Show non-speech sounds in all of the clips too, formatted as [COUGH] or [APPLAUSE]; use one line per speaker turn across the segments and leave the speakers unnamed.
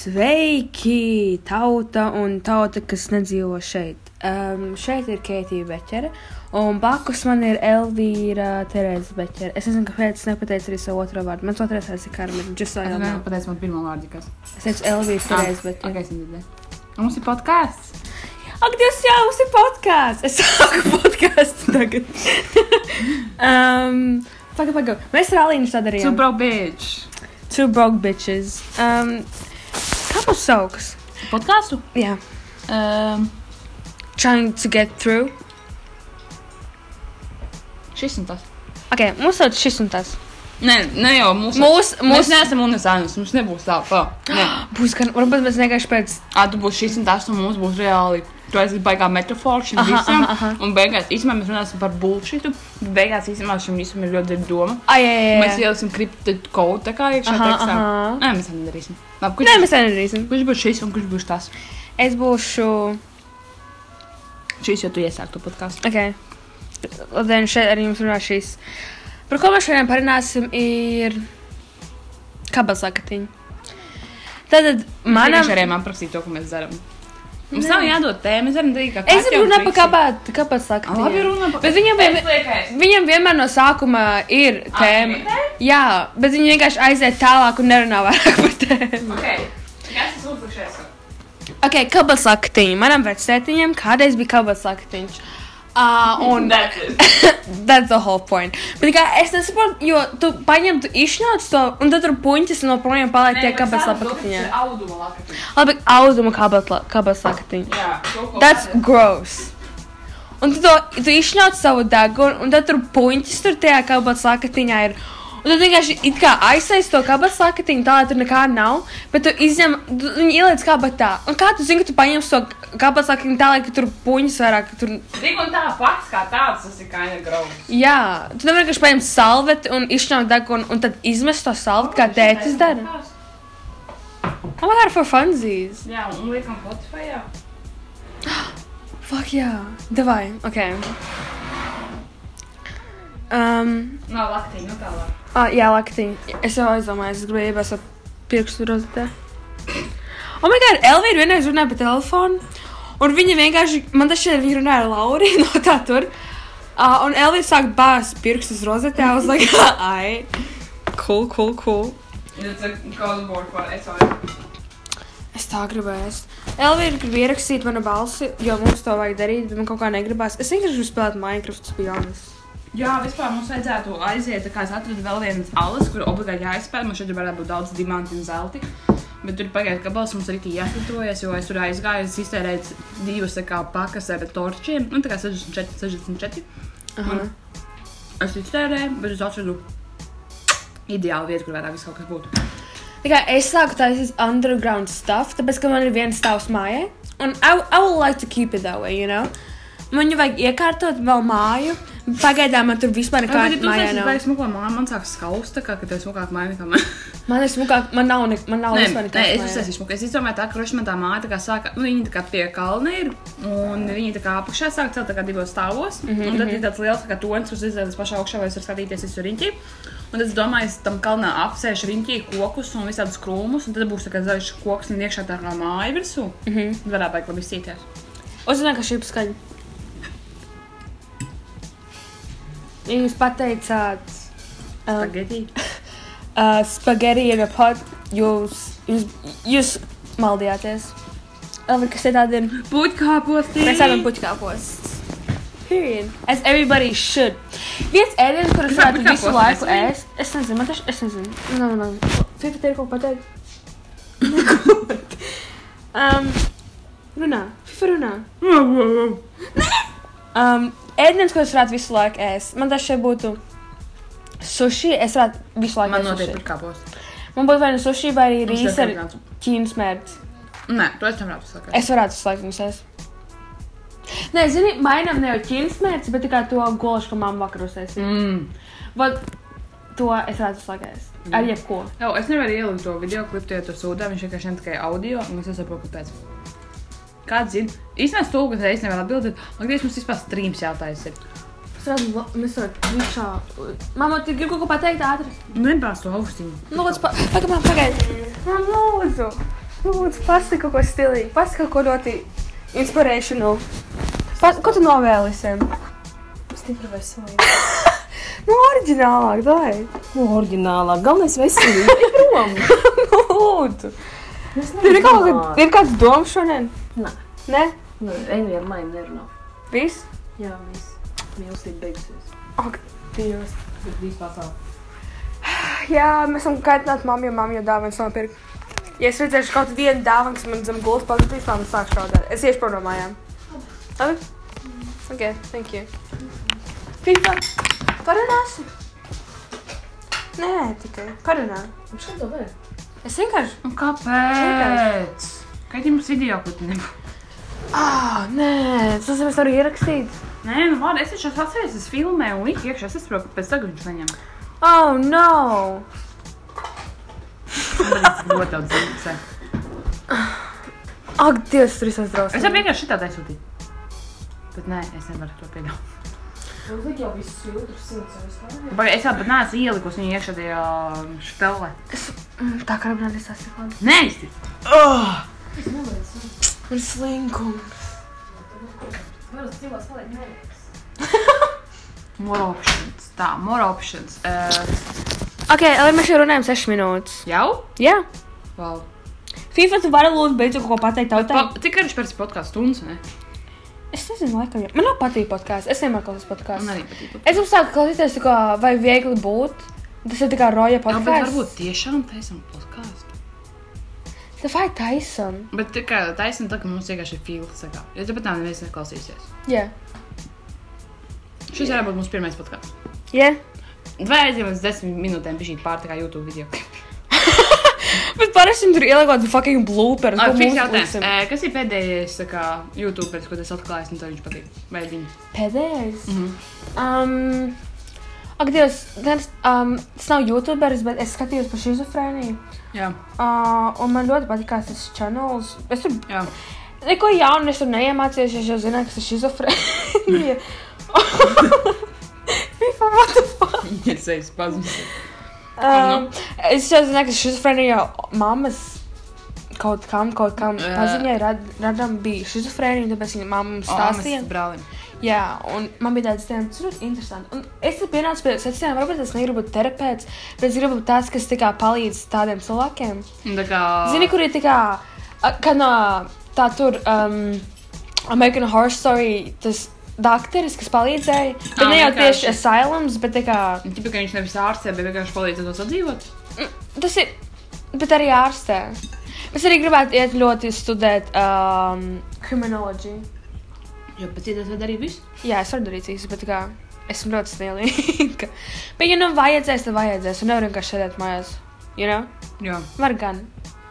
Sveiki, tauta un tauta, kas nedzīvo šeit. Um, šeit ir Keitija Beķere, un blakus man ir Elvīra Terēza Beķere. Es nezinu, kāpēc es nepateicu arī savu otro vārdu. Mans otrais vārds ir Karmen, just so
Es
you
nezinu,
know.
pateicu man pirmo vārdu, kas.
Es teicu Elvīra Terēza Beķere.
bet. Ah, Ok, es nedzirdēju. Un Mums ir podkāsts.
Ak, Dievs, jā, mums ir podkāsts! Es sāku [LAUGHS] podkāstu tagad. [LAUGHS] um, Pagaid, pagaid. Mēs ar Alīnu sadarījām.
Super bitch.
Two broke bitches. Um, kā mums sauks?
Podkāstu?
Jā.
Um,
Trying to get through.
šis un tas.
Ok, mums sauc šis un tas.
Nē, ne jau mūsu.
Mūs,
Mēs
mūs,
neesam unikāls. Mums nebūs tā, kā. Nē,
Būs gan, varbūt mēs vienkārši pēc.
ah, tu būsi šis un tas, un mums būs reāli. Tu esi baigā metafora šim
Aha,
visam.
aha, aha.
Un beigās, īstenībā, mēs runāsim par bullshitu. bet Beigās, īstenībā, šim visam ir ļoti dziļa doma.
Ai, jā, jā, jā.
Mēs ieliksim kriptot kodu tā kā iekšā
Aha,
tekstā.
aha.
Nē, mēs tā nedarīsim. Labi,
Nē,
kurš,
mēs tā nedarīsim.
kurš būs šis un kurš būs tas?
Es būšu.
Šis jau tu iesāktu podkāstu.
Ok. Labdien, šeit arī jums runā šīs. Par ko mēs šodien parunāsim, ir. Kabazakatiņa. Tātad
Manā
manam.
skatījumā prasīja to, ko mēs darām. Mums
Nē.
nav jādod tēma, mēs varam darīt kā
Es gribu runāt par
kāpām.
kabāt, kabazakatiņu.
Labi, runā par
Bet viņam vajag.
kāpām.
Viņam vienmēr no sākuma ir tēma.
ir
Jā, bet viņi vienkārši aiziet tālāk un nerunā vairāk par tēmu. Ok, kabatsaktiņa. Manam vecētiņam kādreiz bija kabatsaktiņš. Uh, un that's the whole point. Bet kā es nesaprotu, jo tu paņem, tu izšņauc to, un tad tur puņķis no projām paliek tie kabatsaktiņā. Labi, auduma kabatsaktiņa. That's gross. Un tu, to, tu izšņauc savu degunu, un tad tur puņķis tur tajā kabatsakatiņā ir. Un tad vienkārši it kā aizsaiz to kabatsakatiņu, tā lai tur nekā nav, bet tu izņem, tu viņu ieliec kabatā. Un kā tu zini, ka tu paņemsi to kabatsakatiņu tā, lai ka tur puņķis vairāk tur...
Tik un tā pats kā tāds, tas ir kā ir grauds.
Jā, tu nevari vienkārši paņemt salveti un izšņaukt degunu, un tad izmest to salveti, kā tētis dara. Oh my god, for funsies.
Jā, un liekam Spotify. jā.
Fuck jā, davai, ok. Um,
Nav laktīna, nu tālāk.
Ah, jā, laktiņa. Es jau aizdomājos, es gribēju iebāzt ar pirkstu rozetē. Oh, my God, Elvija ir vienreiz runāja pa telefonu. Un viņa vienkārši, man tas šķiet, viņa runāja ar Lauriju [LAUGHS] no tā tur. Uh, un Elvija sāk bāzt pirkstus rozetē. Es like, [LAUGHS] ai, cool, cool, cool.
It's a call board for SOS.
Es tā gribēju. es- Elvija grib ierakstīt manu balsi, jo mums to vajag darīt, bet man kaut kā negribās. Es vienkārši gribu spēlēt Minecraft, to be honest.
Jā, vispār mums vajadzētu aiziet, tā kā es atradu vēl vienu alas, kur obligāti jāizpēta. Man šeit varētu būt daudz dimantu un zelta. Bet tur pagāja kabels, mums arī bija jāsaprotas, jo es tur aizgāju, es iztērēju divas tā kā, pakas ar torčiem, nu tā kā 64, 64.
Aha.
Es iztērēju, bet es atradu ideālu vietu, kur vairāk viss kaut kas būtu.
Tikai es sāku taisīt underground stuff, tāpēc, ka man ir viens stāvs mājā. Un I, I would like to keep it that way, you know? Man jau vajag iekārtot vēl māju. Pagaidām man tur vispār nekā
Kāda ir tā
mājā
līnija?
nav.
Es smukāju, man, man sāk skaust, tā kā ka tev smukāk māja nekā man.
Man ir smukāk, man nav, ne, man nav
Nē,
vispār
nē,
nekā.
es uzsācu smuku. Es domāju, tā kā man tā māja tā kā sāka, nu, viņa tā kā pie kalna ir, un viņi tā kā apakšā sāk celt tā kā divos stāvos, mm -hmm.
Mhm,
un tad ir tāds liels tā kā tonis, kurš iziet uz pašā augšā, vai es varu skatīties visu riņķi. Un tad es domāju, es tam kalnā apsēšu riņķī kokus un visādus krūmus, un tad būs tā kā zaļš koks un iekšā tā kā māja virsū. Mm
Mhm.
-hmm. Tad varētu baigt labi izcīties.
Uzzināju, ka šī ir skaļa. Ja jūs pateicāt um,
Spageti.
uh, spaghetti in a pot, jūs, jūs, jūs maldījāties. Elvi, kas ir tādiem?
Puķkāpostī!
Mēs ēdam puķkāpos. Period. As everybody should. Viens ēdiens, kurus
Kāpēc
varētu visu
puķkāpos
laiku
mēs ēdam?
ēst. Es nezinu, man taču, es nezinu. No, no, no. Fifi, te ir kaut ko
[LAUGHS]
pateikt? um, runā. Fifi runā. Um, ēdiens, kurus varētu visu laiku ēst. Man taču šeit būtu sushi, es varētu visu laiku
Man
ēst
noteikti
sushi.
puķkāpostī.
Man būtu vai nu sushi, vai arī
Mums
rīs
tas
ar
ir gan-
ķīnas mērķi.
Nē, to es tam varētu sakāt.
Es varētu slēgt viņus. Es. Nē, zini, mainām ne jau ķīnas mērķi, bet tikai to gulšu, ko mamma vakarosēs.
Mm.
Vat to es varētu slēgt. Ar jebko.
Jā, es nevaru ielikt to video klipu, jo tur sūdā viņš vienkārši ir tikai audio, un es nesaprotu, kāpēc. Kāds zina? Īstenībā stūlis reizes nevar atbildēt, man liekas, mums vispār strīms jātaisa.
Es redzu, lo- mēs varam višā. Mamma, tu gribi kaut ko pateikt ātri?
Nebāz to Nu, austiņu.
Nu, lūdzu, pa... pagaidām, pagaidām. Mamma, lūdzu. Lūdzu, pasaka kaut ko stilīgu, pasaka kaut ko ļoti inspirational. Pas, ko tu novēlisim?
Stipri veselīgi.
[LAUGHS] Nu, oriģinālāk, dai.
Ko oriģinālā? Galvenais veselība. Ej prom!
Nu, Lūdzu. Tev ir kaut kāds, ir kāds domas šodien?
Nē.
Nē?
Nu, Eni ar mani nerunā.
Viss?
Jā, viss. Mīlestība beigusies.
Ak, Dievs.
Bet vispār tā.
Ah, Jā, mēs esam kaitināti mammu, jo mamma jau dāvanas nopirka. Ja es redzēšu kaut kādu dāvanu, kas man zem gultas pazudīs, mamma sāk šaudīt. Es iešu prom no mājām. Labi? Ok, thank you. Fifa, parunāsim? Nē, tikai parunā.
Un šeit vēl?
Es vienkārši.
Nu, kāpēc? Kad jums video kutni?
Ah, nē, tas jau es varu ierakstīt.
Nē, nu, labi, es taču atceros, es filmēju un liku iekšā. Es saprotu, ka pēc tam viņš saņem
Oh, no!
ļoti daudz dzīves.
Ak, Dievs, tur ir tas
Es
drausmas.
varu vienkārši šitā aizsūtīt. Bet nē, es nevaru to pieļaut.
Nu, tik jau viss jūtas simts.
Vai es jau pat neesmu ielikusi viņu iekšā tajā um, štelē.
Mm, Tā kā man ir sasprāta.
Nē, iztikt!
Man slinkums.
Varas dzīvās paliek neliekas.
[LAUGHS] More options. Tā, more options. Uh,
Ok, lai mēs jau runājam 6 minūtes.
jau?
Jā. Yeah.
Wow.
FIFA, tu vari lūdzu beidzot kaut ko pateikt tautai?
Pa, cik garš pēc podkāstu stundas, ne?
Es nezinu, laikam, jau. man nav patīk podkāsts. Es vienmēr klausos
Man arī
podkāstu.
patīk. podcasts.
Es jums sāku klausīties, tā kā, vai viegli būt. Tas ir tā kā roja
Jā, bet
podkāsts.
varbūt tiešām taisam podkāstu.
Tā vai Tyson?
Bet tikai taisam tā, ka mums vienkārši ir fīls. Ja tāpat nav neviens neklausīsies.
Jā.
Šis varētu būt mūsu pirmais podkāsts.
Jā.
Vai aizjām uz desmit minūtēm bija šī pār tā kā YouTube [LAUGHS] video.
Bet parasti viņam tur ieliek kaut kādu fucking blooper.
Ar fiks jautājums. Eh, Kas ir pēdējais tā kā YouTuberis, ko tas atklājis un tev viņš patīk? Vai viņa?
Pēdējais.
Mhm.
Um, Ak, Dievs, tas, um, tas nav youtuberis, bet es skatījos par šizofrēniju.
Jā,
Uh, un man ļoti patīk tas kanāls. Es tur
[LAUGHS] jā.
Neko jaunu es tur neiemācījos, es jau zināju, kas ir šizofrēnija. [LAUGHS] FIFA, what the fuck?
Es eju spazmus.
Um, es jau zināju, ka šizofrēnija mammas kaut kam, kaut kam
Jā.
paziņai rad, radam bija šizofrēnija, tāpēc viņa mamma mums stāstīja.
brālim.
Jā, un man bija tāds dienas, tas ir ļoti interesanti. Un es te pienācu pie secinājuma, varbūt es negribu būt terapeits, bet es gribu būt tas, kas tā kā palīdz tādiem cilvēkiem.
Un Nu, tā kā...
Zini, kur ir tā kā, a, kā no, tā tur um, American Horror Story, tas dakteris, kas palīdzēja. Bet
Ah,
ne jau
vienkārši.
tieši asylums, bet tā kā,
Tikai nu, viņš nevis ārstē, bet vienkārši palīdz to sadzīvot.
mm, tas ir, bet arī ārstē. Es arī gribētu iet ļoti studēt um, criminoloģiju.
Jo pēc tam tas arī viss.
Jā, es varu darīt visu, bet tā kā, esmu ļoti snielīga. [LAUGHS] bet, ja nu vajadzēs, tad vajadzēs. Un nevar vienkārši sēdēt mājās. You know?
Jā,
Var gan.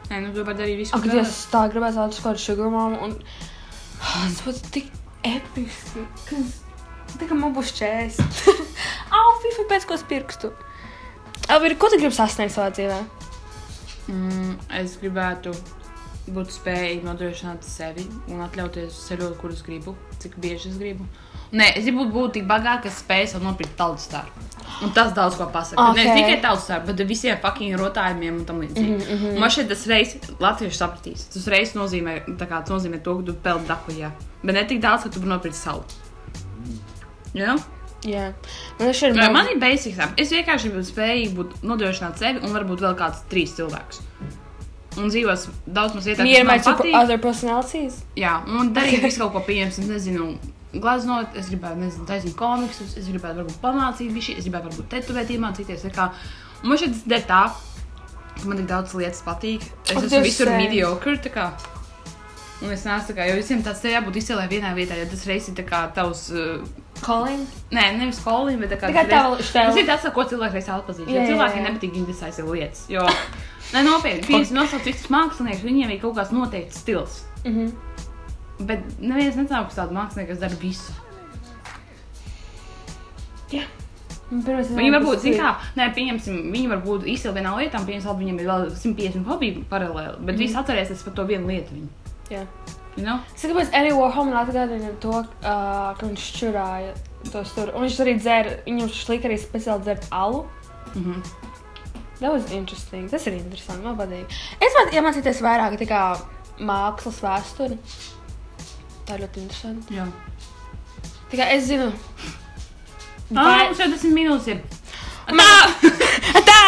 Nē, nu tu vari darīt visu.
Ak, Dievs, es tā gribētu atrast kaut kādu sugarmām, un Ah, tas būtu tik episki. kas- Tā kā man būs
[LAUGHS]
40. Au, FIFA pēc ko es pirkstu. Alvīri, ko tu gribi sasniegt savā dzīvē?
Mm, es gribētu būt spējīga nodrošināt sevi un atļauties ceļot, kur es gribu, cik bieži es gribu. Nē, es gribu būt tik bagāta, ka spēju sev nopirkt tautas stāstu. Un tas daudz ko pasaka. Okay. Ne
Ok.
tikai tautas stāstu, bet visiem fucking rotājumiem un tam līdzīgi. Mm -hmm. Man šeit tas reizes latvieši sapratīs. Tas reizes nozīmē, tā kā, tas nozīmē to, ka tu peldi dahujā. Bet ne tik daudz, ka tu nopirkt savu. Jā? Yeah?
Jā, man šeit ir
Vai man ir basics? ap- Es vienkārši biju spējīga būt nodrošināt sevi un varbūt vēl kādus trīs cilvēkus. Un dzīvos daudz maz vietā,
Mīra,
kas
my
man
super
patīk.
other personalities.
Jā, un darīt visu kaut ko pieņemsim, nezinu. Glaznot, es gribēju, nezinu, taisīt komiksus, es gribēju, varbūt pamācīt visu, es gribēju, varbūt tetovēt, iemācīties. tā Kā. Un Man šeit der tā, ka man tik daudz lietas patīk. Es
Ak,
esmu
Dievs,
visur
same.
mediocre, tā kā. Un es nāku tā kā, jo visiem tāds te jābūt izcēlē vienā vietā, jo tas reizes ir tā kā tavs uh,
Colin.
Nē, nevis kolīna, bet tā
Tā
kā
kā
tas reiz-
tava štela.
Tas ir tas, ar ko cilvēks reizē atpazīst.
Jā,
Jo
jā,
cilvēkiem
jā.
nepatīk indecisive lietas. Jo,
[LAUGHS]
nē, nopietni, viņas nosauc citus māksliniekus, viņiem ir kaut kāds noteikts stils.
Mhm.
Bet neviens nezina, kas tāds mākslinieks kas dara visu.
Pirmais, es
Viņi
domāju,
var būt,
tas
zinām,
ir-
kā, nē, pieņemsim, viņi var būt izcili vienā lietā, un pieņemsim, labi, viņiem ir vēl 150 hobiju paralēli, bet mm. viss atcerēsies par to vienu lietu. Viņu.
Jā.
You know?
Es saku, kāpēc Eddie Warhol atgādina to, uh, ka viņš šķurāja tos tur. Un viņš arī dzēra, viņam šlika arī speciāli dzērt alu.
Mhm.
That was interesting. Tas ir interesanti. Man patīk. Es man iemācījos vairāk tā kā mākslas vēsturi. Tā ir ļoti interesanti.
Jā.
Tikai es zinu,
Ah,
Vai-
40 minūtes ir.
Mā! [LAUGHS] tā!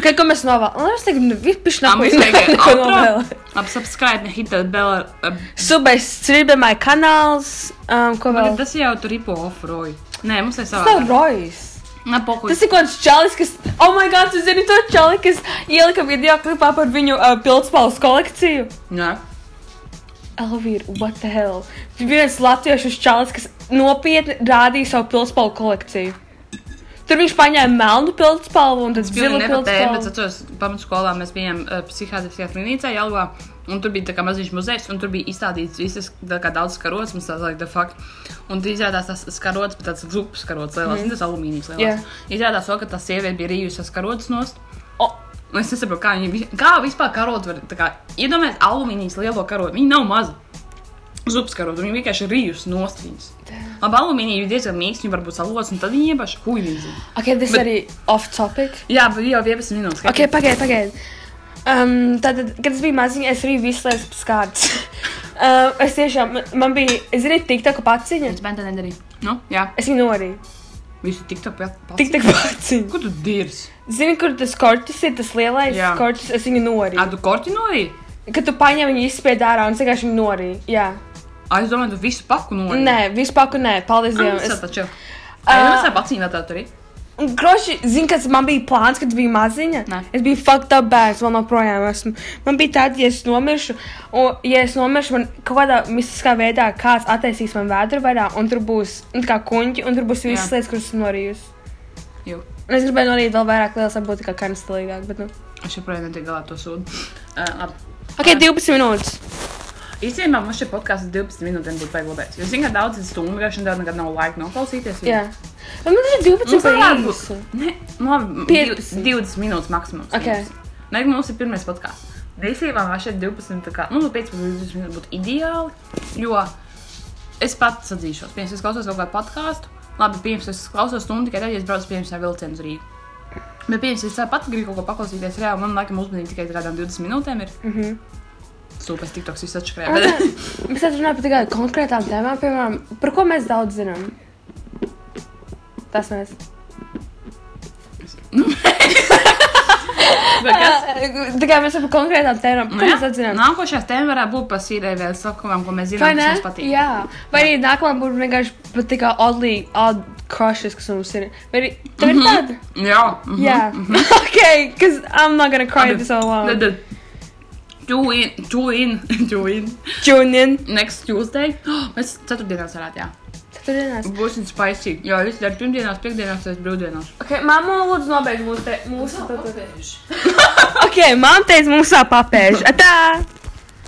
Ok, ko mēs novēlam? Lai es teiktu, nu, vipiš nav
Ā, mums vajag
[LAUGHS] neko
outro?
novēlēt.
Ap subscribe, ne hit that bell. ap-
Subais, strībēmai kanāls. Um, ko
Man ir-
vēl?
Tas jau tur ripo off roju. Nē, mums ir
Tas nav
savā.
Rojas.
Nē, pokuļ.
Tas ir kaut kāds čalis, kas, oh my god, tu zini to čali, kas ielika video klipā par viņu uh, pildspalvas kolekciju.
Jā.
Elvīra, what the hell? Viņš bija viens latviešu čalis, kas nopietni rādīja savu pildspalvu kolekciju. Tur viņš paņēma melnu pildspalvu un tad
Es pilnīgi
zilu
nepatēru, bet es
pildspalvu.
atceros, pamatskolā mēs bijām uh, psihiatriskajā slimnīcā Jālgā. Un tur bija tā kā maziņš muzejs, un tur bija izstādīts visas tā kā daudz karotes, mums tāds like, the fuck. Un tur izrādās tas karotes, bet tāds grupas karotes lielās, mm. tas alumīnijas lielās.
Jā.
Yeah. Izrādās to, ka tā sieviete bija rījusies karotes nost.
O,
Un es nesaprotu, kā viņi, kā vispār karotes var, tā kā, iedomājieties alumīnijas lielo karoti, viņi nav mazi. Zupas karotes, viņi vienkārši ir rījusi nost viņas. Labi, alumīnija ir diezgan mīksta, viņi varbūt salos, un tad viņi iebaši huīnīgi.
Ok, tas
Bet-
arī off topic.
Jā, bet jau 11 minūtes.
Ok, pagaidi, pagaidi. Um, tad, kad es biju maziņa, es arī visu laiku skārts. [LAUGHS] Uh, es tiešām, man- man bija, es zinu, tik tā kā paciņa.
Es bērnu nedarīju. Nu, jā,
Es viņu norīju.
visu tik tā pati.
Tik tā kā paciņa.
Ko tu dirzi?
Zini, kur tas korķis ir, tas lielais
Jā.
korķis, es viņu norīju.
Ar tu korti norīji?
Kad tu paņem viņu izspied ārā un es vienkārši viņu norīju. Jā.
Ai, es domāju, tu visu paku norīji.
Nē, vispār, nē, paldies
jau.
Dievam.
Es
Es...
taču. Ai, nu,
Ā.
es tā pacīnā tā tur ir.
Un, Groši, zini, kas man bija plāns, kad biju maziņa?
Nē.
Es biju fucked up bērns, vēl joprojām esmu. Man bija tāds, ja es nomiršu, un, ja es nomiršu, man kaut kādā mistiskā veidā kāds attaisīs man vēdru vaļā, un tur būs nu, tā kā kuņģi, un tur būs visas
Jā.
lietas, kuras esmu norījusi.
Jū.
Un es gribēju norīt vēl vairāk lietas, lai būtu tā kā karstilīgāk, bet nu.
Es joprojām netiek galā ar to sūdu. Uh,
Ok, 12 minūtes.
Īstenībā mums šī podkāsts 12 minūtēm būtu paiglabēts. Jo, zini, ka daudz ir stundu vienkārši un tev nekad nav laika noklausīties.
Jā. Bet man ir 12
Mums ir labi
minūtes.
būs. Nē, nu labi,
15.
15. 20 minūtes maksimums.
Ok.
Mums. Nē, mums ir pirmais podkāsts. Īsībā man šeit 12, tā kā, nu, 15, 20 minūtes būtu ideāli, jo es pats sadzīšos. Pirms es klausos kaut kādu podkāstu, labi, pirms es klausos stundu, tikai tad, ja es braucu pirms ar vilcienu uz Rīgu. Bet pirms es pats gribu kaut ko paklausīties, reāli man laikam uzmanība tikai tādām 20 minūtēm ir. Mhm. Sūpēs tiktoks viss atšķirē. bet-
Mēs taču runājam par tikai konkrētām tēmām, piemēram, par ko mēs daudz zinām. Tas mēs.
[LAUGHS] Bet kas?
[LAUGHS] Tikai mēs runājam par konkrētām tēmām,
Nu
ko
jā,
mēs daudz zinām.
Nākošais tēma varētu būt par sīvēju sakām, ko mēs
Vai
zinām,
ne?
kas mums patīk.
Jā, vai arī nākamā būs vienkārši pat tikai oddly, odd crushes, kas mums ir. Vai arī tev ir tāda?
Jā. mhm.
Jā. [LAUGHS] Ok, because I'm not gonna cry this all alone.
Tad Tune in, tune in, [LAUGHS] tune in.
Tune in.
Next Tuesday. [GASPS] Oh, mēs ceturtdienās varētu, jā.
Ceturtdienās.
Būsim spicy. Jā, viss dar pirmdienās, piekdienās, tad brīvdienās.
Ok, mamma lūdzu nobeidz mūsu te... Mūsu...
Nav papēžu.
[LAUGHS]
Ok, mamma teica mums tā papēža. Atā!